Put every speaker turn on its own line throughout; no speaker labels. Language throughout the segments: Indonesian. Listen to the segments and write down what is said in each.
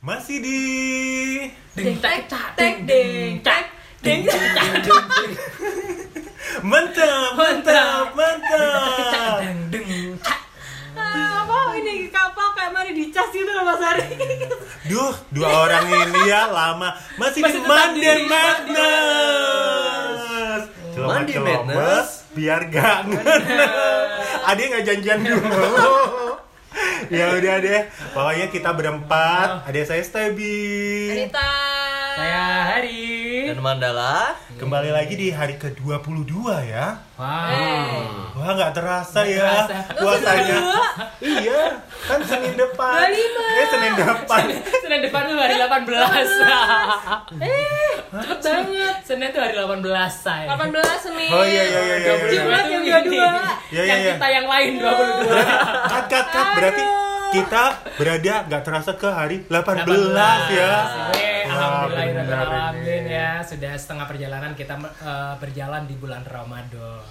Masih di
Ding tak tak ding ding tak ding tak tak ding
mantap, mantap, mantap.
ding ding tak.
Ah, apa ini kapal kayak mari dicas gitu loh Mas Ari.
Duh, dua orang ini ya lama masih,
Masih
di
tetap
Mandi
di
Madness. Celamat
Mandi
celamas,
Madness.
biar gak Ada yang nggak janjian dulu. ya udah deh, pokoknya kita berempat. Ada saya Stebi.
Cerita.
Saya hari.
dan Mandala
Kembali lagi di hari ke-22 ya.
Nah. Hey.
Wow.
Wah nggak terasa ya
terasa.
puasanya. iya, kan Senin depan.
Kelima.
Eh Senin depan.
Senin depan tuh hari 18.
Eh,
Cepet banget. Senin tuh hari 18 say.
18 Senin.
Oh iya iya iya iya. iya.
Jumat yang 22.
Iya, iya,
Yang
iya.
kita yang lain 22.
Cut cut cut berarti kita berada nggak terasa ke hari 18, ya.
Eh,
Wah, benar
Alhamdulillahirrahmanirrahim
ini.
ya Sudah setengah perjalanan kita eh, berjalan di bulan Ramadan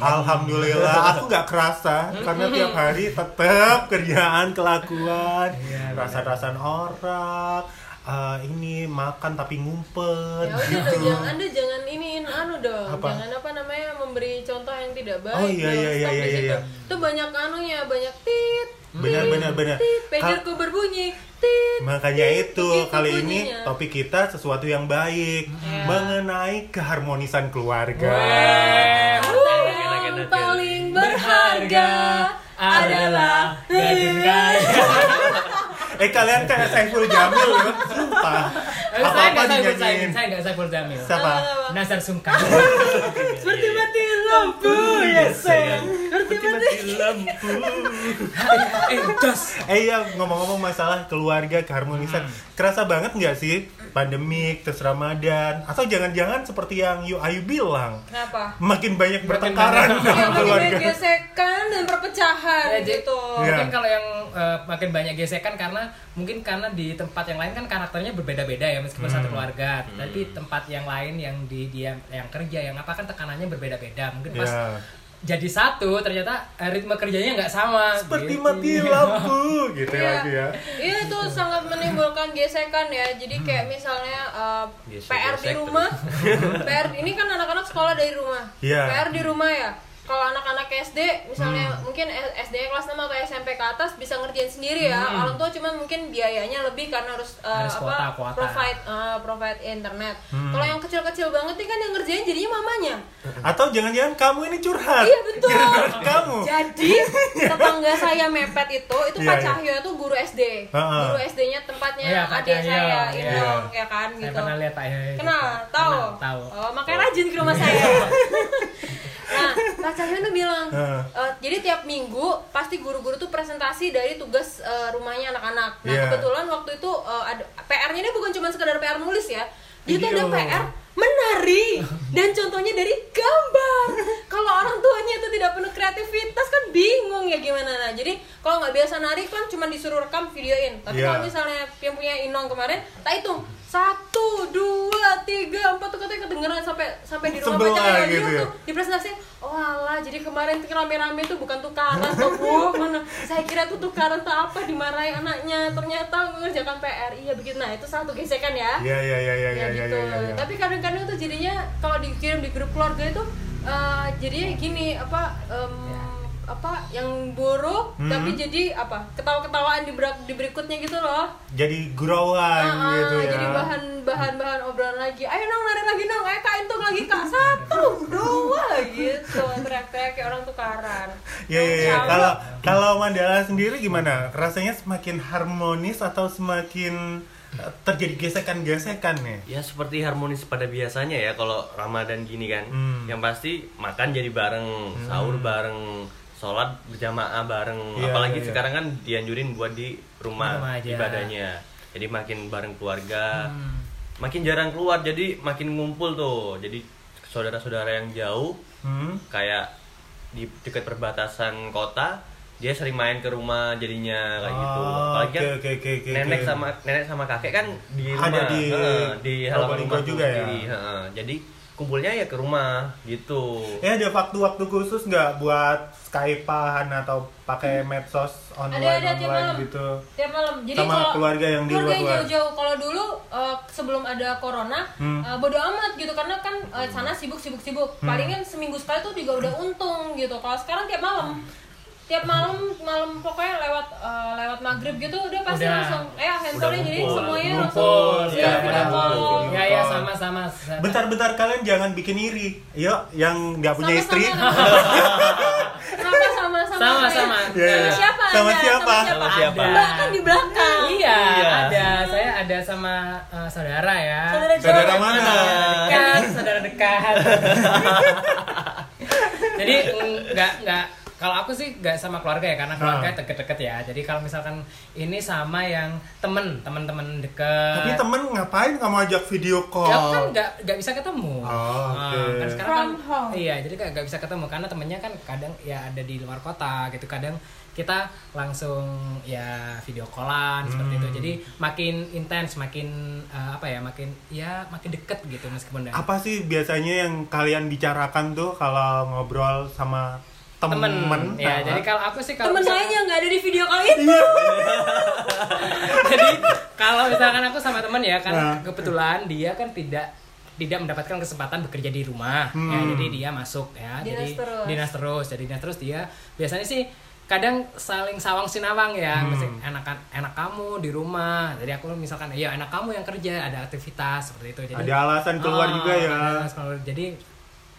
Alhamdulillah, aku nggak kerasa karena tiap hari tetap kerjaan, kelakuan, rasa-rasan orang, eh, ini makan tapi ngumpet
Ya udah dong,
gitu.
jangan anda jangan iniin anu dong.
Apa?
Jangan apa namanya memberi contoh yang tidak baik.
Oh, iya,
dong.
iya,
Stop
iya,
di
iya,
situ.
iya.
Itu banyak anunya, banyak tit.
Benar,
tit,
benar, benar.
Tit,
Kal-
pagerku berbunyi. Tit.
Makanya
tit,
itu
gitu
kali ini
bunyinya.
topik kita sesuatu yang baik mengenai keharmonisan keluarga.
Eh.
Weh.
Yang paling berharga adalah
gadis kaya.
Eh kalian kayak Saiful Jamil loh, sumpah. Apa
Eh, saya
apa
nggak Saiful Jamil,
dinyanyiin.
saya nggak Saiful Jamil.
Siapa?
Nasar Sungkang.
Seperti mati lampu ya sayang. Seperti mati.
lampu
eh, jos.
Eh iya ngomong-ngomong masalah keluarga keharmonisan, kerasa banget nggak sih pandemik terus Ramadan atau jangan-jangan seperti yang Yu Ayu bilang
Kenapa?
makin banyak bertengkaran dalam
banyak.
Ya, makin banyak
keluarga.
gesekan dan perpecahan
Ya, jadi-
gitu.
Iya.
Mungkin kalau yang eh, makin banyak gesekan karena mungkin karena di tempat yang lain kan karakternya berbeda-beda ya meskipun
Hmm.
satu keluarga. Tapi tempat yang lain yang di dia yang kerja yang apa kan tekanannya berbeda-beda. Mungkin pas
Ya.
jadi satu ternyata eh, ritme kerjanya nggak sama.
Seperti
gitu.
mati lampu gitu
Iya.
lagi ya. Hmm.
Iya itu sangat menimbulkan gesekan ya. Jadi kayak misalnya uh,
Gesek,
PR di
gesek
rumah, PR ini kan anak-anak sekolah dari rumah.
Iya.
PR di rumah ya. Kalau anak-anak SD misalnya
Hmm.
mungkin SD -nya kelas 6 atau SMP ke atas bisa ngerjain sendiri ya.
Hmm.
Orang tua cuma mungkin biayanya lebih karena harus, uh,
Harus
apa
kuota, kuota.
provide uh, provide internet.
Hmm.
Kalau yang kecil-kecil banget nih kan yang ngerjain jadinya mamanya.
Atau jangan-jangan kamu ini curhat.
Iya, betul.
Gara-gara kamu.
Jadi tetangga saya mepet itu itu
Oh. Iya,
Pak
iya.
Cahyo itu guru SD.
Ha-ha.
Guru SD-nya tempatnya
Iya, Pak
adik
Cahyo,
saya
iya.
itu ya kan
Saya
gitu.
pernah lihat Pak Yahya gitu.
Kenal, tahu.
Kenal, tahu. Iya.
Oh, makanya rajin ke rumah saya. nah, Pak Cahyo tuh bilang,
Ha.
"Eh, jadi tiap minggu pasti guru-guru tuh presentasi dari tugas eh, rumahnya anak-anak. Nah,
Iya.
kebetulan waktu itu eh, ada PR-nya ini bukan cuma sekedar PR nulis ya. Dia tuh ada
Iya.
PR menari dan contohnya dari gambar. Kalau orang tuanya itu tidak penuh kreativitas kan bingung ya gimana nah. Jadi kalau nggak biasa nari kan cuma disuruh rekam videoin. Tapi
Iya.
kalau misalnya yang punya Inong kemarin, tak hitung satu, dua, tiga, empat tuh katanya kedengeran sampai sampai di rumah
Sebelah
pacarnya dia
gitu ya.
tuh di presentasi oh alah jadi kemarin tuh rame-rame tuh bukan tukaran tuh bu mana saya kira tuh tukaran tuh apa dimarahi anaknya ternyata mengerjakan PR iya begitu nah itu satu gesekan ya
Iya iya iya iya iya
ya
iya
gitu
iya. iya.
tapi kadang-kadang tuh jadinya kalau dikirim di grup keluarga itu eh, jadinya gini apa em, apa yang buruk
Hmm.
tapi jadi apa ketawa-ketawaan di, ber- di berikutnya gitu loh
Jadi gurauan
Ah, ah,
gitu ya.
Jadi bahan bahan bahan obrolan lagi. Ayo nong lari lagi nong. Ayo kak Intung lagi kak satu dua gitu. Teriak-teriak kayak orang tukaran.
Ya, ya, ya.
Insya
Kalau
Allah.
kalau Mandala sendiri gimana? Rasanya semakin harmonis atau semakin eh, terjadi gesekan-gesekan nih?
ya seperti harmonis pada biasanya ya kalau Ramadan gini kan
Hmm.
yang pasti makan jadi bareng sahur bareng sholat berjamaah bareng
Iya, iya,
apalagi
iya.
sekarang kan dianjurin buat di rumah,
Rumah aja.
ibadahnya jadi makin bareng keluarga
Hmm.
makin jarang keluar jadi makin ngumpul tuh jadi saudara-saudara yang jauh
Hmm?
kayak di dekat perbatasan kota dia sering main ke rumah jadinya kayak gitu
Ah,
apalagi kan
oke, oke, oke, oke,
nenek
oke.
sama nenek sama kakek kan di
gitu. Ada
rumah
di
heeh, di halaman
Probolinggo
rumah
juga ya?
sendiri, heeh. jadi kumpulnya ya ke rumah gitu.
Eh ada waktu-waktu khusus nggak buat skypean atau pakai medsos
Hmm. ada
online
ada tiap
online
malam
gitu?
tiap malam jadi
Sama
kalau
keluarga yang di
keluarga
luar-luar.
jauh-jauh kalau dulu eh, sebelum ada corona
Hmm.
eh, bodo amat gitu karena kan eh, sana sibuk sibuk sibuk paling kan seminggu sekali tuh juga udah untung gitu kalau sekarang tiap malam tiap malam malam pokoknya lewat eh, lewat maghrib gitu udah pasti
Udah.
langsung eh handphone jadi
ngumpul.
semuanya
Ngumpul,
langsung
ya,
iya, video
ngumpul.
call.
Ya, ya, sama-sama.
Bentar-bentar kalian jangan bikin iri. Yuk, yang nggak punya istri.
Kenapa sama-sama?
Sama-sama.
Iya, iya.
Nah,
Siapa
Sama
Anda?
siapa?
Sama siapa?
Ada.
Mbak kan di belakang.
Iya,
Iya.
ada. Saya ada sama eh, saudara ya.
Saudara
Saudara
jauh.
mana?
dekat, saudara dekat. Jadi mm, nggak nggak kalau aku sih nggak sama keluarga ya karena keluarga
Ah.
deket-deket ya. Jadi kalau misalkan ini sama yang temen temen-temen deket.
Tapi temen ngapain kamu ajak video call?
Ya kan nggak nggak bisa ketemu.
Oh,
Ah,
oke.
kan sekarang
From
kan-
home.
Iya, jadi kayak nggak bisa ketemu karena temennya kan kadang ya ada di luar kota gitu. Kadang kita langsung ya video callan seperti itu.
Hmm.
Jadi makin intens, makin eh, apa ya, makin ya makin deket gitu meskipun dengan-
Apa sih biasanya yang kalian bicarakan tuh kalau ngobrol sama temen?
temen.
Ah.
Ya, jadi kalau aku sih kalau
Temen saya yang nggak ada di video call itu.
Iya.
jadi kalau misalkan aku sama temen ya kan
Nah.
kebetulan dia kan tidak tidak mendapatkan kesempatan bekerja di rumah ya
Hmm.
jadi dia masuk ya
Dinas
jadi
terus.
dinas terus jadi dinas terus dia biasanya sih kadang saling sawang sinawang ya
Hmm.
Masih, enakan enak kamu di rumah jadi aku misalkan ya enak kamu yang kerja ada aktivitas seperti itu jadi
Ada alasan keluar
Ah,
juga ya.
ada alasan keluar. Jadi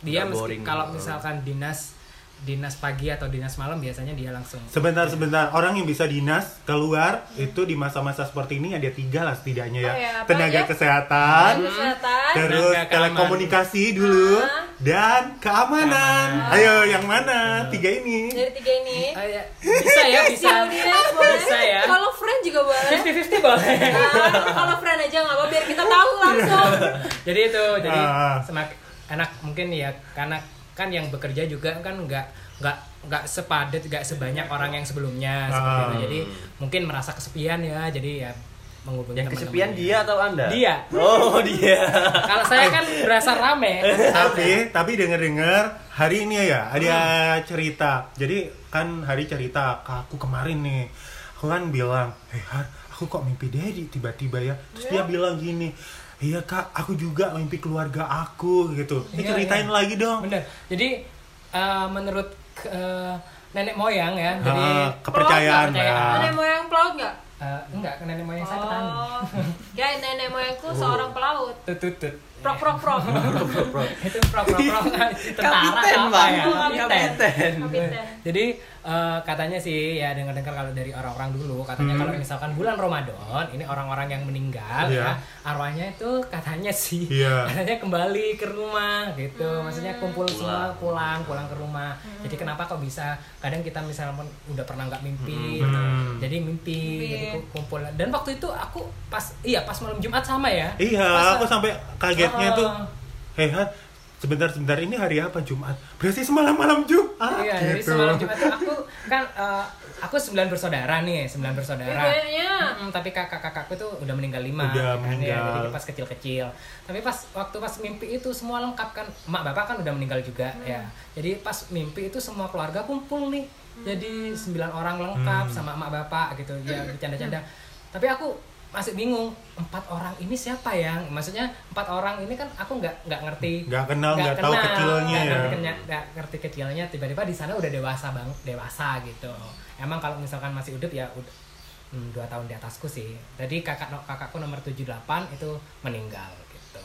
dia
Nggak
meski
boring. gitu.
kalau misalkan dinas dinas pagi atau dinas malam biasanya dia langsung
Sebentar sebentar orang yang bisa dinas keluar itu di masa-masa seperti ini ada tiga lah setidaknya ya,
Oh
iya,
ya, apa
tenaga
ya?
kesehatan,
Kesehatan.
terus
Tenaga keamanan.
telekomunikasi dulu
Ah.
dan keamanan. Ayo yang mana tiga ini?
Dari tiga ini.
Ah, ya. bisa ya bisa
Audiens boleh.
bisa ya
Iya, Kalau friend juga boleh.
fifty fifty boleh
Nah, kalau friend aja nggak apa biar kita tahu langsung.
Iya.
jadi itu jadi
Ah.
semak enak mungkin ya karena kan yang bekerja juga kan nggak nggak nggak sepadat nggak sebanyak orang yang sebelumnya seperti itu.
Ah.
jadi mungkin merasa kesepian ya jadi ya menghubungi
Yang
teman-teman.
kesepian
ya.
dia atau Anda?
Dia.
Oh, dia.
kalau saya kan berasa rame Iya.
tapi tapi denger dengar hari ini ya ada
Hmm.
cerita. Jadi kan hari cerita ke aku kemarin nih. Aku kan bilang, "Eh, Har, aku kok mimpi Dedi tiba-tiba ya." Terus dia bilang gini, "Iya, Kak, aku juga mimpi keluarga aku." gitu. Ini
Iya,
ceritain
iya.
lagi dong.
Bener. Jadi eh, menurut eh, nenek moyang ya, jadi
Ah, kepercayaan
Pelaut nggak
ya.
percayaan?
Nenek moyang pelaut nggak?
Ah.
eh, enggak nenek moyang saya petani.
Oh, ya nenek
Oh.
moyangku seorang pelaut.
Tut tut tut.
Prok prok prok.
Itu pro pro pro tentara
Kapiten,
apa
Bang.
ya?
Kapiten.
Kapiten.
Jadi eh, katanya sih ya dengar-dengar kalau dari orang-orang dulu katanya
Hmm.
kalau misalkan bulan Ramadan ini orang-orang yang meninggal
Iya.
ya arwahnya itu katanya sih
Iya.
katanya kembali ke rumah gitu maksudnya kumpul semua pulang pulang ke rumah jadi kenapa kok bisa kadang kita misalnya udah pernah nggak
Hmm.
mimpi gitu. jadi mimpi,
Mimpi.
jadi ku- kumpul dan waktu itu aku pas iya pas malam Jumat sama ya
Iya,
Pas-
aku sampai kagetnya
Oh.
tuh. "Eh, Hei, Han, sebentar-sebentar ini hari apa? Jumat. Berarti semalam malam Jumat.
Iya, jadi
gitu.
semalam Jumat tuh aku kan eh, aku sembilan bersaudara nih, sembilan bersaudara.
Iya. Bedanya.
Mm, tapi kakak-kakakku tuh udah meninggal lima.
Udah
kan,
meninggal.
Ya, jadi pas kecil-kecil. Tapi pas waktu pas mimpi itu semua lengkap kan, mak bapak kan udah meninggal juga ya. Jadi pas mimpi itu semua keluarga kumpul nih. Jadi sembilan orang lengkap
Mm.
sama mak bapak gitu ya bercanda-canda. Tapi aku masih bingung empat orang ini siapa yang maksudnya empat orang ini kan aku nggak nggak ngerti
Nggak kenal, nggak tahu
kenal,
kecilnya
nggak
ya.
ngerti kenya- nggak ngerti kecilnya tiba-tiba di sana udah dewasa bang dewasa gitu emang kalau misalkan masih hidup ya udah hmm, dua tahun di atasku sih jadi kakak no- kakakku nomor 78 itu meninggal gitu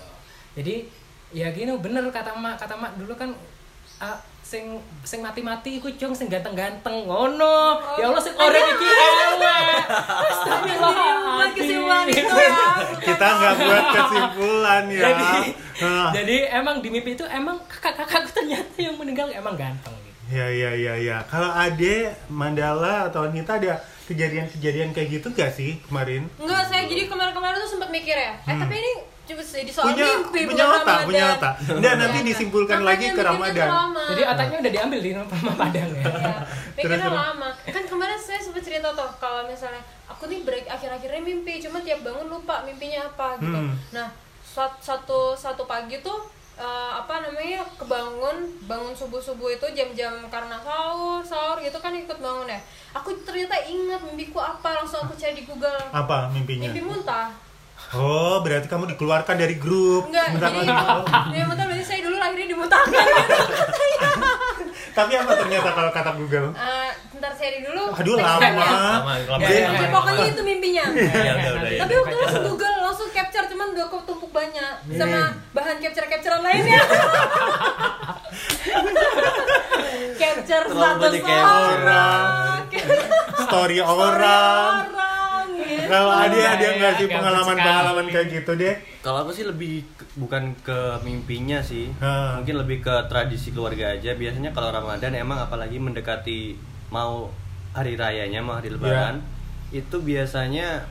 jadi ya gini bener kata mak kata mak dulu kan ah, sing sing mati-mati iku jong sing ganteng-ganteng ngono ya Allah sing ora iki elek
Buat kesimpulan
astagfirullahaladzim
itu ya.
Kita nggak buat kesimpulan ya.
Jadi-
Nah,
jadi emang di mimpi itu emang kakak-kakakku ternyata yang meninggal emang ganteng gitu
Ya, ya, ya, ya. Kalau Ade, Mandala, atau Anita ada kejadian-kejadian kayak gitu gak sih kemarin?
Enggak, saya jadi kemarin-kemarin tuh sempat mikir ya. Eh, tapi ini cuma jadi soal
Hmm. punya
mimpi
punya
bukan
otak,
Ramadan.
punya otak. Nggak, nanti
Iya, kan?
disimpulkan
Makanya
lagi ke
mikirnya tuh
Ramadan.
lama.
Jadi otaknya udah diambil di rumah Padang ya.
Ya, mikirnya
Terus, terus.
lama kan kemarin saya sempat cerita tuh kalau misalnya aku nih break akhir-akhirnya mimpi cuma tiap bangun lupa mimpinya apa gitu
Hmm.
nah suat- satu satu pagi tuh eh, apa namanya kebangun bangun subuh subuh itu jam-jam karena sahur sahur gitu kan ikut bangun ya aku ternyata ingat mimpiku apa langsung aku cari di Google
Apa mimpinya?
mimpi muntah
Oh, berarti kamu dikeluarkan dari grup.
enggak
Bentar lagi.
jadi itu mimpi muntah berarti saya dulu lahirnya dimuntahkan gitu katanya
Tapi apa ternyata kalau kata Google?
Eh, bentar saya di dulu
Aduh
Teksnya.
lama.
Lama, lama.
Jadi-
Oke, pokoknya itu mimpinya
Iya, udah, udah,
tapi waktu itu langsung Google langsung capture cuman udah ketumpuk banyak
Iya.
sama bahan capture capturean lainnya capture
Terlalu
status
banyak capture.
orang capture
Story orang.
orang gitu.
Kalau
Iya,
ada dia
iya,
ngasih
gabut
pengalaman-pengalaman
sekali.
kayak gitu deh.
Kalau aku sih lebih ke- bukan ke mimpinya sih,
Ha.
mungkin lebih ke tradisi keluarga aja. Biasanya kalau Ramadan emang apalagi mendekati mau hari rayanya, mau
Iya.
hari lebaran, itu biasanya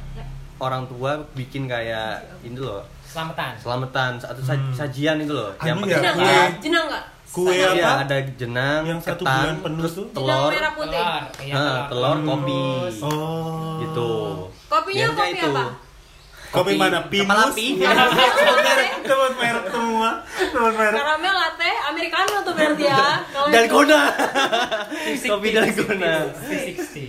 orang tua bikin kayak ini loh,
Selamatan.
selamatan satu sa- sajian itu loh.
Hmm. Aduh, ya,
jenang
kue.
nggak jenang nggak
Kue
Iya,
apa?
ada jenang,
Yang satu
ketan,
bulan penuh
terus
tuh?
jenang
telur,
merah putih
Telur. Iya,
ha, Ah, telur, kopi,
Oh.
gitu.
Kopinya
Biasanya
kopi apa?
Kopi mana? Pinus? Iya.
Kepala api.
Teman merek, teman merek semua. Teman merek.
karamel latte americano tuh berarti
Iya.
ya Kalau itu-
dalgona kopi dalgona
360.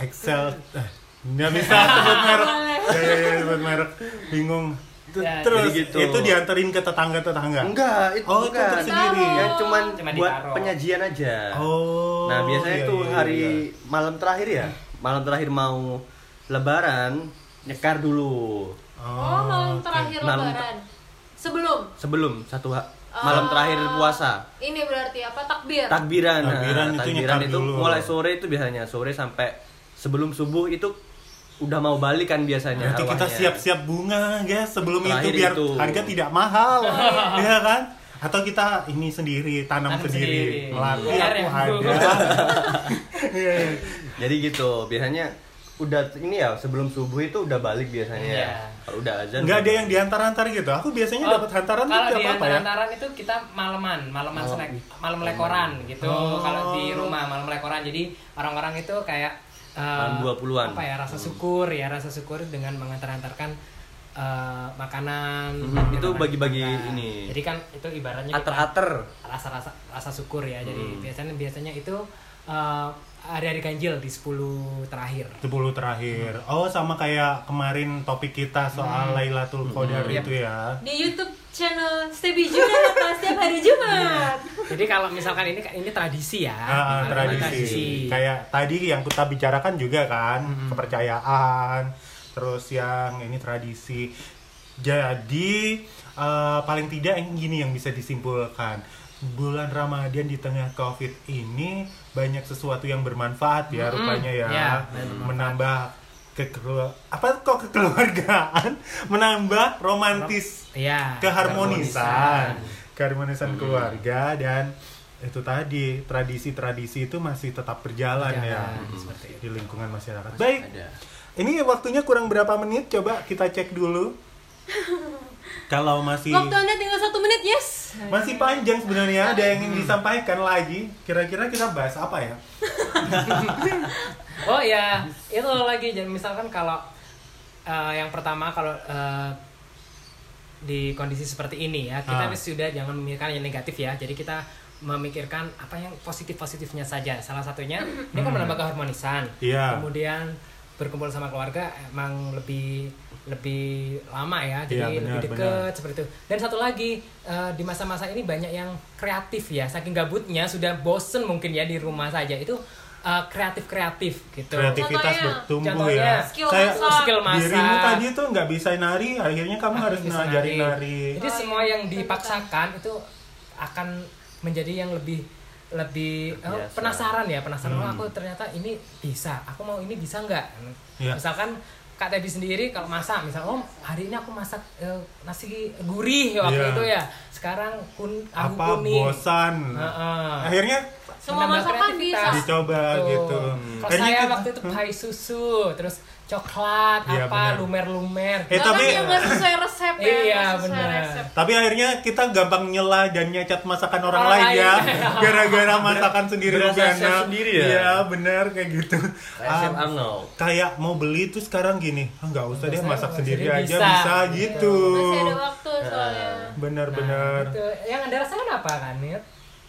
Excel. Eh, Nggak bisa sebut merek. Ya, ya, ya, sebut merek. Bingung. T-
Ya,
Terus
jadi gitu.
itu dianterin ke tetangga-tetangga.
enggak itu
Oh, itu
bukan
tersendiri.
ya cuman
Cuma
buat
ditaruh.
penyajian aja
Oh.
nah biasanya
iya,
itu
iya,
hari
iya.
malam terakhir ya malam terakhir mau lebaran nyekar dulu
oh malam terakhir
Malam-
lebaran sebelum eh,
sebelum satu ha-
Oh.
malam terakhir puasa
ini berarti apa takbir
takbiran nah,
Takbiran itu nyekar
itu
dulu.
mulai sore itu biasanya sore sampai sebelum subuh itu udah mau balik kan biasanya
Berarti kita
arwahnya.
siap-siap bunga, guys. Sebelum itu
Terakhir
biar
itu.
harga tidak mahal, ya kan? Atau kita ini sendiri tanam,
Tanam
sendiri,
sendiri.
melatih
Biar
aku
iya.
yang
ada.
dulu.
Iya, iya.
Jadi gitu, biasanya udah ini ya sebelum subuh itu udah balik biasanya.
Iya.
Kalau udah azan.
Nggak ada
udah
yang diantar-antar gitu. Aku biasanya
Oh,
dapat hantaran tuh
kalau
tidak
di
apa-apa ya. Oh.
hantaran itu kita malaman malaman snack malam lekoran gitu kalau di rumah malam lekoran jadi orang-orang itu kayak eh,
Malam 20-an.
apa ya rasa
Hmm.
syukur ya rasa syukur dengan mengantar-antarkan eh, makanan
Hmm,
Mhm, itu
minuman
bagi-bagi
juga.
ini.
jadi kan itu ibaratnya kita-
Ater-ater.
rasa rasa rasa syukur ya jadi
Hmm.
biasanya biasanya itu eh, hari-hari ganjil di 10 terakhir
10 terakhir. Oh, sama kayak kemarin topik kita soal Lailatul Qadar itu ya.
di YouTube channel Stebi Jumat atau setiap hari Jumat.
jadi kalau misalkan ini ini tradisi ya
Ah, ah,
Ini
tradisi. Kayak tadi yang kita bicarakan juga kan, kepercayaan, terus yang ini tradisi. Jadi eh, paling tidak yang gini yang bisa disimpulkan. Bulan Ramadan di tengah Covid ini banyak sesuatu yang bermanfaat ya rupanya ya.
ya,
menambah kekeluar apa kok kekeluargaan, menambah romantis
Iya.
keharmonisan keharmonisan keluarga dan itu tadi tradisi-tradisi itu masih tetap berjalan ya di lingkungan masyarakat baik
Ada.
ini waktunya kurang berapa menit coba kita cek dulu kalau masih
Waktu anda tinggal satu menit, yes.
masih panjang sebenarnya ada yang ingin disampaikan lagi kira-kira kita bahas apa ya
Oh ya, itu lagi. Jadi misalkan kalau eh, yang pertama kalau eh, di kondisi seperti ini ya,
Ah.
kita sudah jangan memikirkan yang negatif ya. Jadi kita memikirkan apa yang positif-positifnya saja. Salah satunya ini kan menambah keharmonisan.
Hmm. Iya.
Kemudian berkumpul sama keluarga emang lebih lebih lama ya. Jadi
Iya, benar,
lebih dekat seperti itu. Dan satu lagi eh, di masa-masa ini banyak yang kreatif ya. Saking gabutnya sudah bosen mungkin ya di rumah saja. Itu eh, kreatif-kreatif gitu.
kreativitas
Contohnya-
bertumbuh
contohnya
ya
skill
saya
masak.
Skill masak.
dirimu tadi tuh nggak bisa nari akhirnya kamu harus
Bisa
ngajarin nari
Jadi semua yang dipaksakan itu akan menjadi yang lebih lebih eh,
Terbiasa.
penasaran ya penasaran
Hmm.
"Oh, aku ternyata ini bisa aku mau ini bisa nggak
Iya.
misalkan kak tadi sendiri kalau masak misal oh hari ini aku masak eh, nasi gurih waktu
Iya.
itu ya sekarang kun aku
apa
kuning
bosan
Heeh.
akhirnya
Semua
menambah
masakan
kreativitas.
bisa.
Dicoba
Tuh.
gitu.
Kalau
Tadinya
saya
kita-
waktu itu pai susu, terus coklat,
Iya,
apa
benar.
lumer-lumer.
Eh,
Bahkan
tapi-
yang nggak sesuai resep ya
Iya,
nggak sesuai
benar.
resep
Tapi akhirnya kita gampang nyela dan nyacat masakan orang
Orang
lain ya,
lain.
gara-gara masakan sendiri
berasa
Bugana.
chef sendiri ya?
Iya benar kayak gitu.
Resep
Um,
Arnold.
kayak mau beli tuh sekarang gini, "Ah, nggak usah deh
usah,
masak
nggak
sendiri
usah,
aja
bisa."
bisa
Iya.
gitu.
masih ada waktu soalnya
Benar-benar.
Gitu. Yang anda rasakan apa kan, Nir?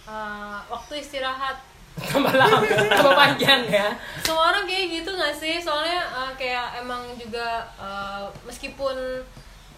Eh, waktu istirahat
Tambah lama, tambah panjang ya.
semua orang kayak gitu nggak sih soalnya eh, kayak emang juga eh, meskipun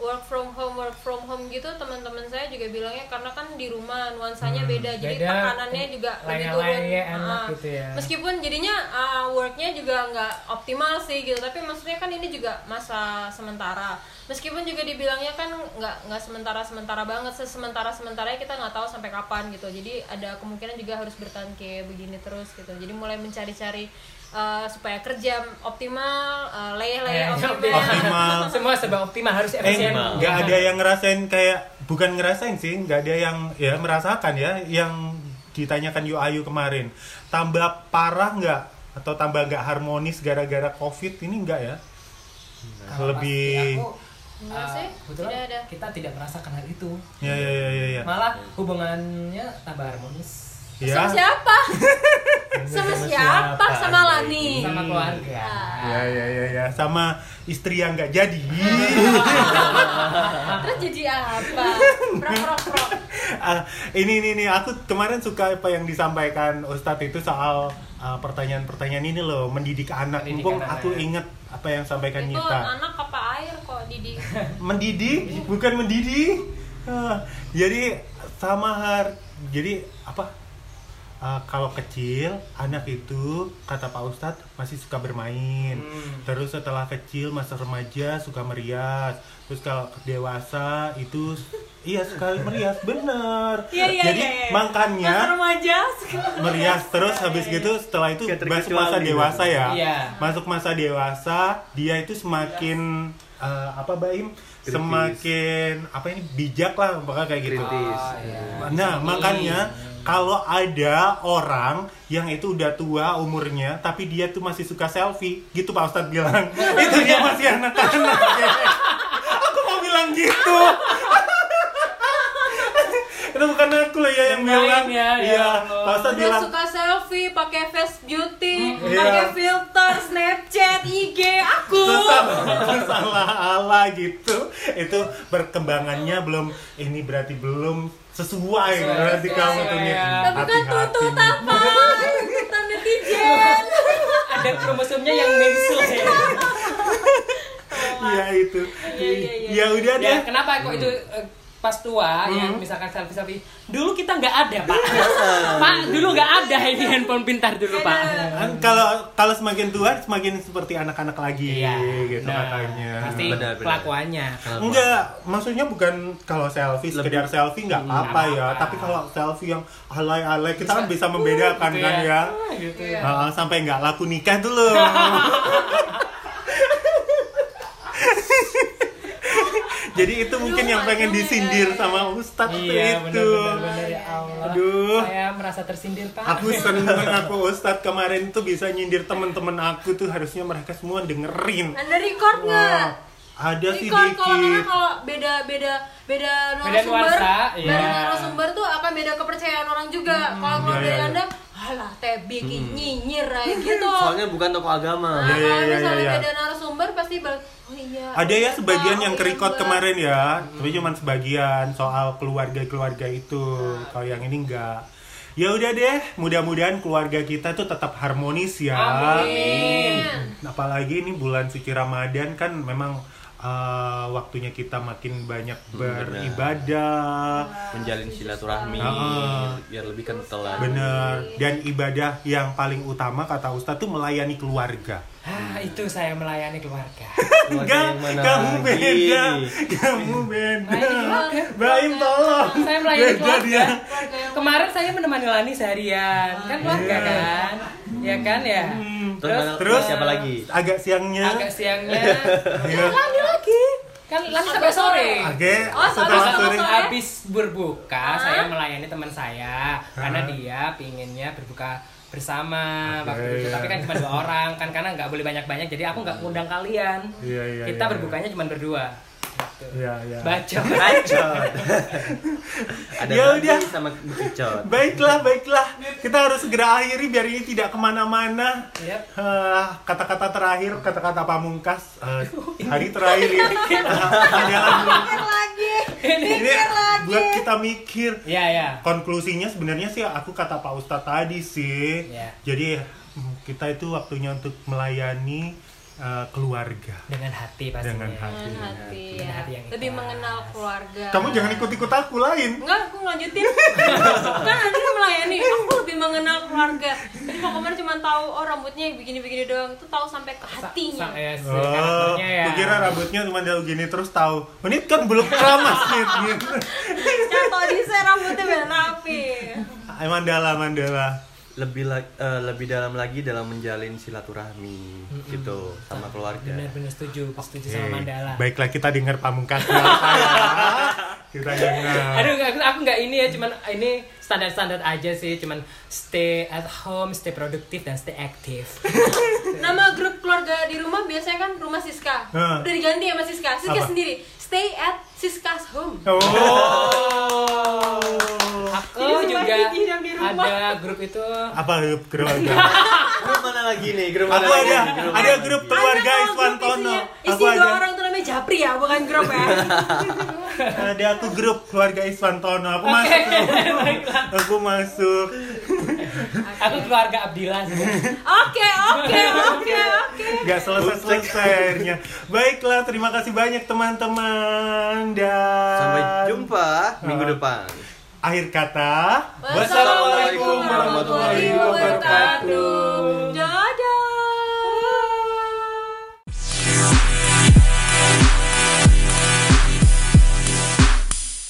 work from home work from home gitu teman-teman saya juga bilangnya karena kan di rumah nuansanya beda jadi
Hmm, beda.
tekanannya juga lebih turun
Layar-layarnya enak
Ah,
gitu ya.
meskipun jadinya eh, worknya juga nggak optimal sih gitu tapi maksudnya kan ini juga masa sementara meskipun juga dibilangnya kan nggak nggak sementara sementara banget sementara sementaranya kita nggak tahu sampai kapan gitu jadi ada kemungkinan juga harus bertahan kayak begini terus gitu jadi mulai mencari-cari eh, supaya kerja optimal eh, layar-layar
Layarnya
optimal,
Optimal.
Semua serba optimal harus
Eh,
efisien.
nggak ada yang ngerasain kayak bukan ngerasain sih, nggak ada yang ya merasakan ya yang ditanyakan Yu Ayu kemarin. Tambah parah nggak atau tambah nggak harmonis gara-gara COVID ini nggak ya? Lebih
Aku, eh,
Enggak Iya sih,
kebetulan
tidak ada.
kita tidak merasakan hal itu.
ya ya ya ya ya.
Malah hubungannya tambah harmonis
Ya.
sama siapa Iya. sama siapa Iya, sama Lani
Hmm.
sama keluarga.
Ah.
Ya ya ya ya sama istri yang nggak jadi.
terus jadi apa prok prok prok
Ah, ini ini ini aku kemarin suka apa yang disampaikan Ustadz itu soal ah, pertanyaan-pertanyaan ini loh mendidik anak.
Mendidik
Mumpung
anak,
aku
ya.
inget apa yang sampaikan
itu
Nita.
anak apa air kok Didi
mendidih bukan mendidih Ah, jadi sama har jadi apa Ah, kalau kecil anak itu kata Pak Ustadz masih suka bermain terus setelah kecil masa remaja suka merias terus kalau dewasa itu iya sekali merias bener
Iya, iya,
jadi
iya, iya.
makanya
Mas remaja suka
merias terus habis gitu setelah itu
Kayak
masuk
terkecuali
masa
gitu.
dewasa ya
Iya.
masuk masa dewasa dia itu semakin eh, apa Baim
Kritis.
semakin apa ini bijak lah pokoknya kayak gitu
Kritis.
nah makanya kalau ada orang yang itu udah tua umurnya tapi dia tuh masih suka selfie gitu Pak Ustadz bilang itu dia masih anak-anak aku mau bilang gitu itu bukan aku lah ya yang
Yang lain
bilang
ya, ya
iya
Allah.
Pak Ustadz
dia
bilang
suka selfie pakai face beauty
Hmm,
pakai
iya.
filter Snapchat IG aku
salah ala gitu itu perkembangannya belum ini berarti belum sesuai
Sesuai,
berarti
sesuai,
kamu tuh nih
ya.
tapi kan
hati-hati
tuntutan
nih.
apa tuntutan netizen
Ada kromosomnya yang mengsel ya.
Iya itu
Iya, iya, iya.
ya udah deh
Ya, kenapa kok itu eh, pas tua
Hmm.
yang misalkan selfie selfie dulu kita nggak ada pak
Iya.
pak dulu nggak ada ini handphone pintar dulu pak
Kan kalau kalau semakin tua semakin seperti anak-anak lagi gitu
nah,
katanya
pasti
Benar, benar.
kelakuannya
Enggak, maksudnya bukan kalau selfie sekedar selfie nggak apa-apa
nggak
ya,
apa-apa.
tapi kalau selfie yang alay-alay kita kan bisa membedakan
gitu
kan
ya.
ya.
Ah, gitu ya.
Ah, sampai nggak laku nikah tuh loh. Jadi itu mungkin yang pengen disindir sama Ustadz tuh
iya
itu.
benar-benar ya Allah
Aduh.
saya merasa tersindir pak
Aku seneng aku Ustadz kemarin tuh bisa nyindir temen-temen aku tuh harusnya mereka semua dengerin.
anda record nggak
Wah, ada sih
record kalau karena
dikit.
kalau beda beda beda
Beda
narasumber
nuansa, iya.
beda narasumber tuh akan beda kepercayaan orang juga kalau kalau
Iya,
dari
iya,
anda alah tebik nyinyir aja gitu
Soalnya bukan toko agama.
Nah,
Iya, iya,
kalau
iya,
misalnya
iya.
beda narasumber pasti bal oh iya
Ada ya sebagian
Oh,
yang
iya,
kerikot
gua.
kemarin ya, tapi cuman sebagian soal keluarga-keluarga itu.
Iya.
Kalau yang ini enggak. Ya udah deh, mudah-mudahan keluarga kita tuh tetap harmonis ya. Hmm,
Amin.
Apalagi ini bulan suci Ramadan kan memang eh, waktunya kita makin banyak beribadah.
Menjalin silaturahmi
Ah.
biar lebih kental lagi.
Bener. Dan ibadah yang paling utama kata Ustadz tuh melayani keluarga.
ah itu saya melayani keluarga
Enggak,
Keluarga yang mana
kamu
lagi?
beda. Kamu beda.
keluarga.
Baim tolong.
Nah, Saya melayani
Beda
keluarga.
Iya, dia.
Keluarga yang-
kemarin saya menemani Lani seharian kan keluarga
Iya.
kan ya kan ya
Terus,
Terus?
siapa lagi?
Iya. Agak siangnya.
agak siangnya
Ya.
lagi lagi kan Lan sampai sore.
Oke,
Oh,
setelah
sorry,
sore.
sorry.
Habis berbuka,
Hah?
saya melayani teman saya karena
Hah?
dia pinginnya berbuka bersama
Ah. Oke,
waktu itu.
iya.
Tapi kan cuma dua orang kan karena nggak boleh banyak-banyak. Jadi aku nggak ngundang kalian.
Iya, iya,
Kita
iya,
berbukanya cuma berdua. Gitu.
Iya, iya.
Baca.
Bacot. Ada
Ya
babi
udah.
sama bekicot.
Baiklah, baiklah. Kita harus segera akhiri biar ini tidak kemana-mana.
Yap.
Eh, kata-kata terakhir, kata-kata pamungkas eh, hari terakhir ini. Jangan-
Mikir lagi.
iya, ini buat kita mikir.
Iya, iya.
Konklusinya sebenarnya sih aku kata Pak Ustadz tadi sih.
Iya.
Jadi mm, kita itu waktunya untuk melayani eh, keluarga
Dengan hati
dengan
pastinya.
hati.
Dengan hati,
Dengan
ya.
hati yang
Lebih
ikhlas.
mengenal keluarga.
iya. Kamu jangan ikut-ikut aku lain.
Enggak, aku lanjutin. kan nanti kan melayani. Aku lebih mengenal keluarga. Jadi kalau kemarin cuma tahu oh rambutnya yang begini-begini doang, itu tahu sampai ke
Sa-
hatinya.
sa- ya, si
Oh,
karakternya ya.
kukira rambutnya cuma jauh gini terus tahu. Ini kan belum keramas nih. gitu.
Contoh di saya rambutnya beda rapi.
Ay, Mandala, Mandala.
Lebih la- eh, lebih dalam lagi dalam menjalin silaturahmi gitu sama keluarga.
Benar-benar setuju, setuju sama
Oke.
Mandala.
Iya. Baiklah kita dengar pamungkas saya. kita dengar.
Aduh, aku, aku nggak ini ya, cuman ini standar-standar aja sih, cuman stay at home, stay produktif dan stay aktif.
Nama grup keluarga di rumah biasanya kan rumah Siska.
Hah.
Udah diganti sama Siska. Siska
Apa?
sendiri. Stay at Siska's home.
Oh.
Aku
Jadi semua
juga
ini diam Iya, di rumah.
ada grup itu.
Apa grup keluarga?
Grup mana lagi nih? Grup mana
Aku
lagi?
ada
Grup
ada
mana
grup
lagi?
keluarga
Ada kalau
Iswan
grup
Tono.
isinya- Isi
Aku
dua
ada
orang itu namanya Japri ya, bukan grup ya.
ada aku grup keluarga Iswan Tono. Aku masuk. Aku masuk.
Aku keluarga Abdillah sih.
Oke, oke, oke, oke.
Gak selesai-selesai akhirnya. Baiklah, terima kasih banyak teman-teman dan
Sampai jumpa minggu depan.
Akhir kata.
Wassalamualaikum warahmatullahi wabarakatuh.